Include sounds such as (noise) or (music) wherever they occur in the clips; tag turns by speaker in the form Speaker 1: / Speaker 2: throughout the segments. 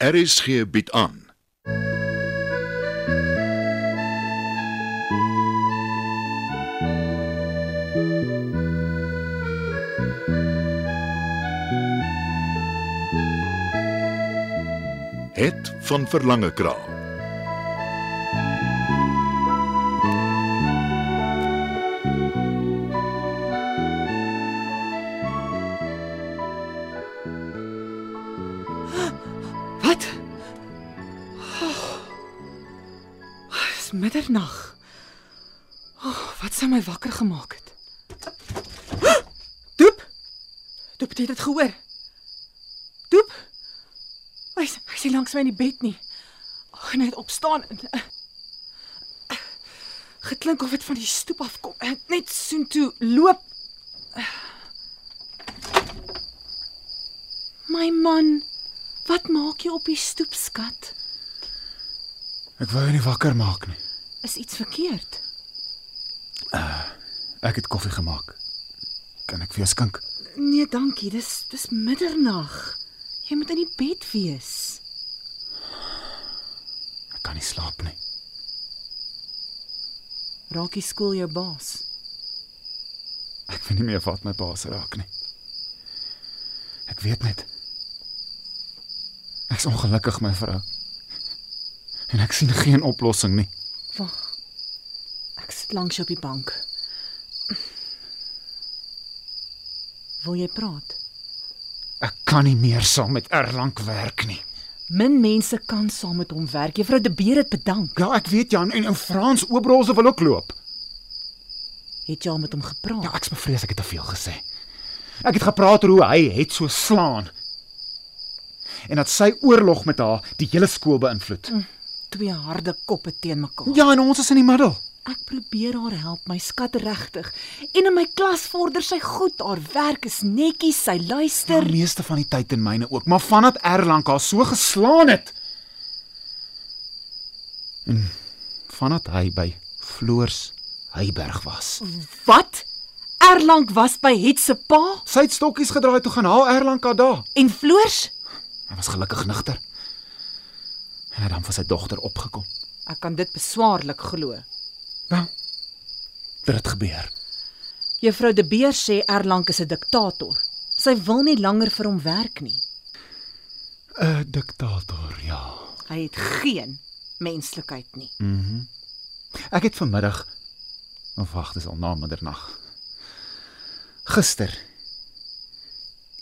Speaker 1: RSG bied aan. Het van Verlange Kraal
Speaker 2: Wat? Oh, het is middernag. Oh, wat sou my wakker gemaak het? Doep. Doep het jy dit gehoor. Doep. Hy is- hy sien langs my in die bed nie. Ag, net opstaan en eh, geklink of dit van die stoep af kom. En Net soontoe loop. Eh. My man. Wat maak jy op die stoep, skat?
Speaker 3: Ek wou jou nie wakker maak nie.
Speaker 2: Is iets verkeerd?
Speaker 3: Ek het koffie gemaak. Kan ek vir jou skink?
Speaker 2: Nee, dankie. Dis dis middernag. Jy moet in die bed wees.
Speaker 3: Ek kan nie slaap nie.
Speaker 2: Raak die skool jou baas.
Speaker 3: Ek weet nie meer wat my baas raak nie. Ek weet net. Ek's ongelukkig, my vrou. En ek sien geen oplossing nie.
Speaker 2: Wag. Ek sit langs jou op die bank. Wil jy praat?
Speaker 3: Ek kan nie meer saam met Erlang werk nie.
Speaker 2: Min mense kan saam met hom werk. Juffrou De Beer het bedank.
Speaker 3: Ja, ek weet Jan en, en Frans Obrose wil ook loop.
Speaker 2: Het jy al met hom gepraat?
Speaker 3: Ja, ek's bevrees ek het te veel gesê. Ek het gepraat oor hoe hy het so slaan. En dat sy oorlog met haar die hele skool beïnvloed.
Speaker 2: Ja, Twee harde koppe teen mekaar.
Speaker 3: Ja, en ons is in die middel.
Speaker 2: Ek probeer haar help, my skat regtig. En in my klas vorder sy goed. Haar werk is netjies, sy luister.
Speaker 3: Die Ja, meeste van die tyd in myne ook, maar vandat Erlang haar so geslaan het. En vandat hy by Floors Heyberg was.
Speaker 2: Wat? Erlang was by Het se pa
Speaker 3: Sy het stokkies gedraai toe gaan haal Erlang haar daar.
Speaker 2: en Floors?
Speaker 3: Hy was gelukkig nigter. En hy het dan vir sy dogter opgekom.
Speaker 2: Ek kan dit beswaarlik glo.
Speaker 3: Wel. Dit het gebeur.
Speaker 2: Juffrou De Beer sê Erlang is 'n diktator. Sy wil nie langer vir hom werk nie.
Speaker 3: 'n Diktator, ja.
Speaker 2: Hy het geen menslikheid nie.
Speaker 3: Mhm. Ek het vanmiddag of wag, dis al na middernag. Gister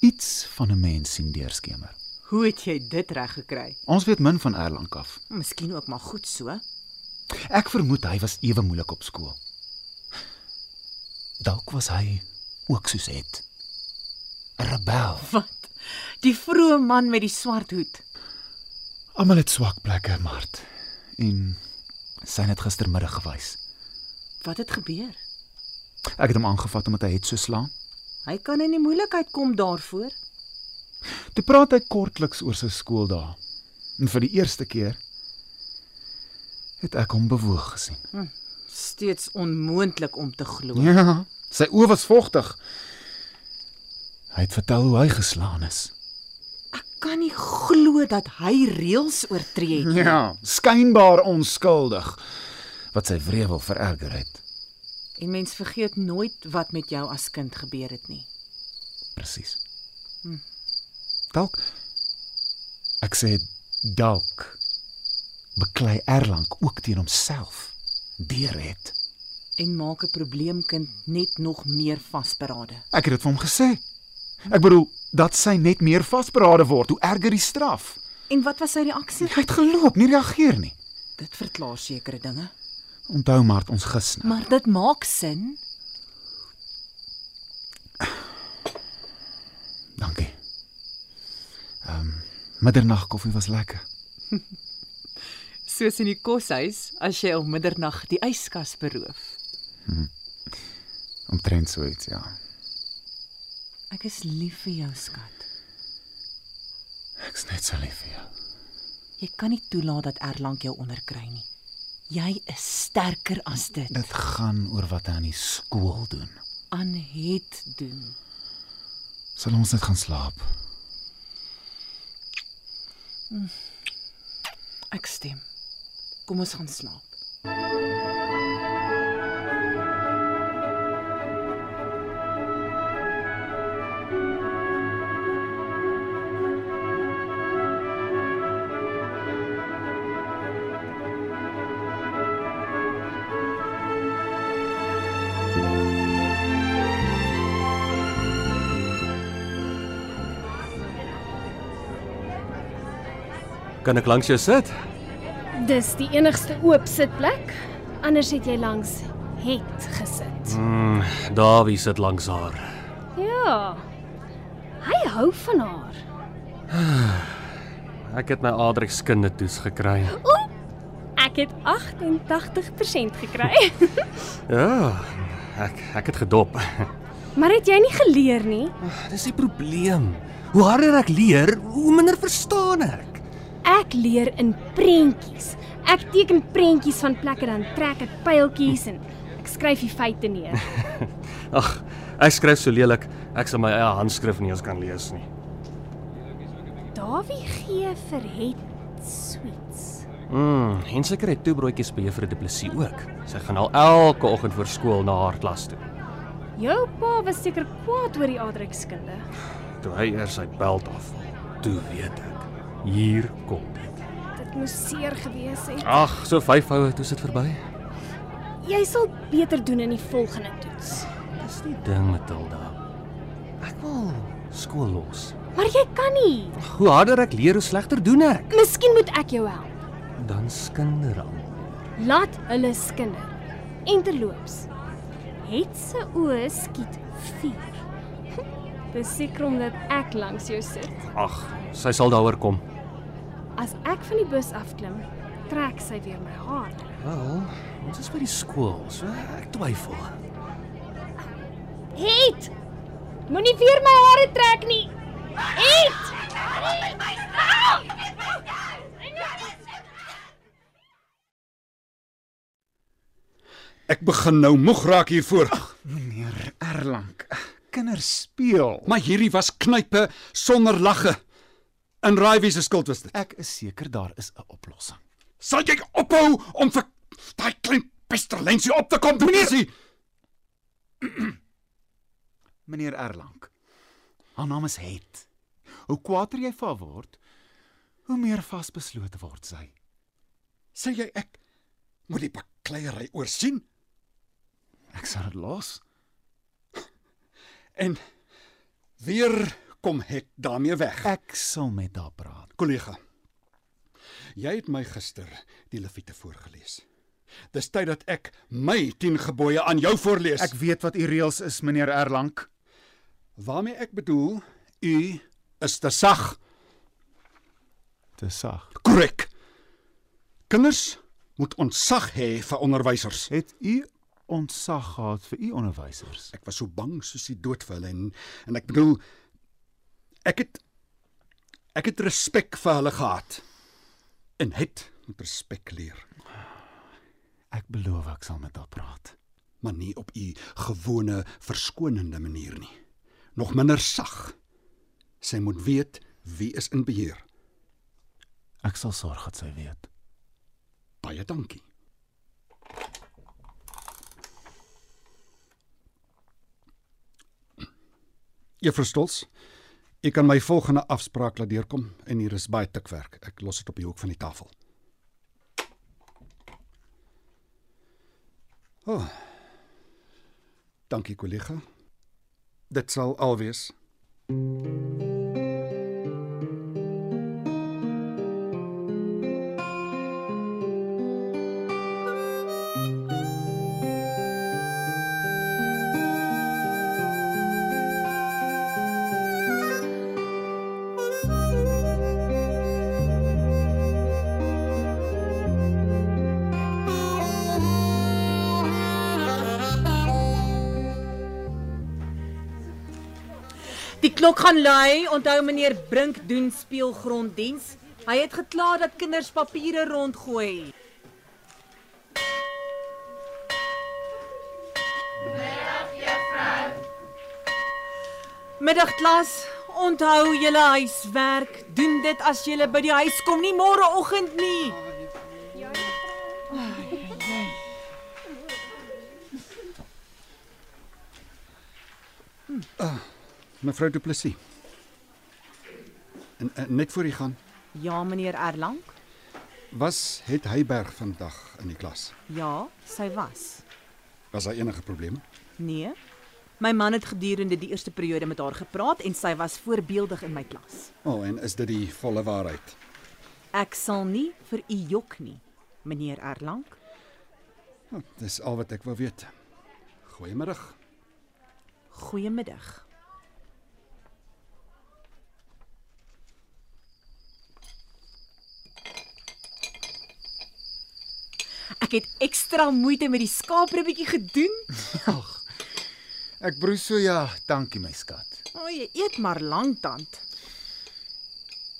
Speaker 3: iets van 'n mens sien deurskemer.
Speaker 2: Hoe het jy dit reg gekry?
Speaker 3: Ons weet min van Erlang af.
Speaker 2: Miskien ook maar goed so.
Speaker 3: Ek vermoed hy was ewe moeilik op skool. Dalk was hy ook soos het 'n rebel.
Speaker 2: Wat? Die vroeë man met die swart hoed.
Speaker 3: Almal het swak plekke, Mart. En sy het dit gistermiddag gewys.
Speaker 2: Wat het gebeur?
Speaker 3: Ek het hom aangevat omdat hy het so slaan.
Speaker 2: Hy kan in die moeilikheid kom daarvoor.
Speaker 3: Toe praat hy kortliks oor sy skooldae. En vir die eerste keer het ek hom bewoog gesien.
Speaker 2: Steeds onmoontlik om te glo.
Speaker 3: Ja, sy oë was vochtig. Hy het vertel hoe hy geslaan is.
Speaker 2: Ek kan nie glo dat hy reëls oortree het.
Speaker 3: Ja, skynbaar onskuldig wat sy wrevel vererger het.
Speaker 2: En mens vergeet nooit wat met jou as kind gebeur het nie.
Speaker 3: Presies. Hm. Dalk ek sê dalk beklei Erlang ook teen homself deur het.
Speaker 2: En maak 'n probleemkind net nog meer vasberade.
Speaker 3: Ek het dit vir hom gesê. Ek bedoel dat sy net meer vasberade word hoe erger die straf.
Speaker 2: En wat was sy reaksie?
Speaker 3: Hy het geloop, nie reageer nie.
Speaker 2: Dit verklaar sekere dinge,
Speaker 3: Onthou maar ons gis nou.
Speaker 2: maar dit maak sin.
Speaker 3: Dankie. Ehm middernag koffie was lekker.
Speaker 2: Soos in die koshuis as jy om middernag die yskas beroof.
Speaker 3: Omtrent so iets, ja.
Speaker 2: Ek is lief vir jou, skat.
Speaker 3: Ek's net so lief vir jou.
Speaker 2: Jy kan nie toelaat dat Erlang jou onderkry nie. Jy is sterker as dit.
Speaker 3: Dit gaan oor wat hy aan die skool doen.
Speaker 2: Aan het doen.
Speaker 3: Sal ons net gaan slaap?
Speaker 2: Ek stem. Kom ons gaan slaap.
Speaker 4: Kan ek langs jou sit?
Speaker 5: Dis die enigste oop sitplek. Anders het jy langs het gesit.
Speaker 4: Hmm, Dawie sit langs haar.
Speaker 5: Ja. Hy hou van haar.
Speaker 4: Ek het my Adrix kindertoets gekry.
Speaker 5: Ek het 88% gekry.
Speaker 4: Ja, ek ek het gedop.
Speaker 5: (laughs) maar het jy nie geleer nie?
Speaker 4: Dis die probleem. Hoe harder ek leer, hoe minder verstaan ek.
Speaker 5: Ek leer in prentjies. Ek teken prentjies van plekke dan trek ek pyltjies en ek skryf die feite (laughs) neer.
Speaker 4: Ag, ek skryf so lelik, ek sal my eie handskrif nie eens kan lees nie.
Speaker 5: Dawie gee vir het sweets.
Speaker 4: Mm, en seker het toebroodjies by juffrou Du Plessis ook. Sy gaan al elke oggend voor skool na haar klas toe.
Speaker 5: Jou pa was seker kwaad oor die aardrykskunde.
Speaker 4: Toe hy eers sy beld afhaal, toe weet ek, hier kom dit.
Speaker 5: Dit moes seer gewees het.
Speaker 4: Ag, so vyf houe toe sit verby.
Speaker 5: Jy sal beter doen in die volgende toets.
Speaker 4: Dis die ding, Matilda. Ek wil skool los.
Speaker 5: Maar jy kan nie.
Speaker 4: Hoe harder ek leer, hoe slegter doen ek.
Speaker 5: Miskien moet ek jou help.
Speaker 4: Dan skinder aan.
Speaker 5: Laat hulle skinder. En terloops. Het se oë skiet vuur. (laughs) Dis seker omdat ek langs jou sit.
Speaker 4: Ag, sy sal daaroor kom.
Speaker 5: As ek van die bus afklim, trek sy weer my hare.
Speaker 4: Wel, ons is by die skool, so ek twyfel.
Speaker 5: Het! Moenie weer my hare trek nie. Het!
Speaker 6: Ek begin nou moeg raak hiervoor.
Speaker 3: Meneer Erlang, kinders speel.
Speaker 6: Maar hierdie was knype sonder lagge. En raai wie se skuld was dit?
Speaker 3: Ek is seker daar is 'n oplossing.
Speaker 6: Sal jy ophou om vir daai klein pesterlensie op te kom, meneer?
Speaker 3: Meneer Erlang. Haar naam is Het. Hoe kwaader jy vir haar word, hoe meer vasbeslote word sy.
Speaker 6: Sê jy ek moet die bakleierery oorsien
Speaker 3: Ek sal dit los.
Speaker 6: en weer kom het daarmee weg.
Speaker 3: Ek sal met haar praat.
Speaker 6: Kollega. Jy het my gister die Leviete voorgeles. Dis tyd dat ek my 10 gebooie aan jou voorlees.
Speaker 3: Ek weet wat u reëls is, meneer Erlang.
Speaker 6: waarmee ek bedoel, u is te sag.
Speaker 3: Te sag.
Speaker 6: Korrek. Kinders moet ontsag hê vir onderwysers.
Speaker 3: Het u ontsag gehad vir u onderwysers?
Speaker 6: Ek was so bang soos die dood vir hulle en en ek bedoel ek het ek het respek vir hulle gehad. En het moet respek leer,
Speaker 3: Ek beloof ek sal met haar praat.
Speaker 6: maar nie op u gewone verskonende manier nie. Nog minder sag. Sy moet weet wie is in beheer.
Speaker 3: Ek sal sorg dat sy weet.
Speaker 6: Baie dankie. Juffrou Stolz, ek kan my volgende afspraak laat deurkom en hier is baie tikwerk. Ek los dit op die hoek van die tafel. O. Oh, dankie kollega. Dit sal al wees.
Speaker 2: Die klok gaan lui. Onthou meneer Brink doen speelgronddiens. Hy het gekla dat kinders papiere rondgooi. Middag juffrou. Middag klas. Onthou julle huiswerk. Doen dit as julle by die huis kom, nie môreoggend nie.
Speaker 6: Mevrou Du Plessis. En, en net voor u gaan,
Speaker 2: Ja, meneer Erlang.
Speaker 6: was het Heyberg vandag in die klas?
Speaker 2: Ja, sy was.
Speaker 6: Was daar enige probleme?
Speaker 2: Nee. My man het gedurende die eerste periode met haar gepraat en sy was voorbeeldig in my klas.
Speaker 6: O, oh, en is dit die volle waarheid?
Speaker 2: Ek sal nie vir u jok nie, meneer Erlang.
Speaker 6: Oh, dis al wat ek wou weet. Goeiemiddag.
Speaker 2: Goeiemiddag. Ek het ekstra moeite met die skaapribbietjie gedoen.
Speaker 3: Ag. Ek broei so ja, dankie my skat.
Speaker 2: O, jy eet maar lank tand.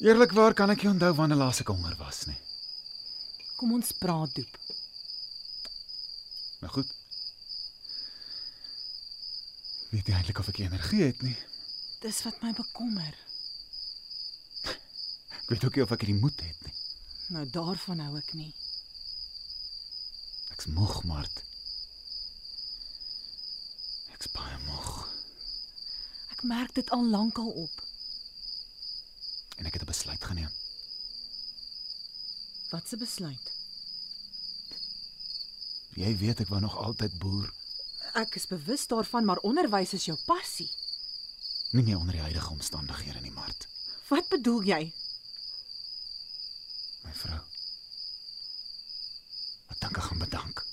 Speaker 3: Eerlikwaar kan ek nie onthou wanneer laas ek honger was nie.
Speaker 2: Kom ons praat doop.
Speaker 3: Nou goed. Weet jy eintlik of ek energie het nie?
Speaker 2: Dis wat my bekommer.
Speaker 3: Ek weet ook nie of ek die moed het nie.
Speaker 2: Nou daarvan hou ek nie.
Speaker 3: Ek's moeg, Mart. Ek's baie moeg
Speaker 2: Ek merk dit al lankal op.
Speaker 3: en ek het 'n besluit geneem.
Speaker 2: Wat 'n besluit.
Speaker 3: Jy weet ek wou nog altyd boer,
Speaker 2: Ek is bewus daarvan, maar onderwys is jou passie.
Speaker 3: nie meer onder die huidige omstandighede nie, Mart.
Speaker 2: Wat bedoel jy?
Speaker 3: My vrou. Ek dink ek gaan bedank.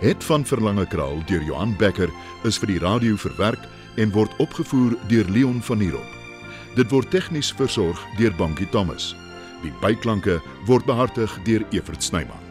Speaker 1: Het van Verlange Kraal deur Johan Becker is vir die radio verwerk en word opgevoer deur Leon Van Heerop. Dit word tegnies versorg deur Bankie Thomas. Die byklanke word behartig deur Evert Snyman.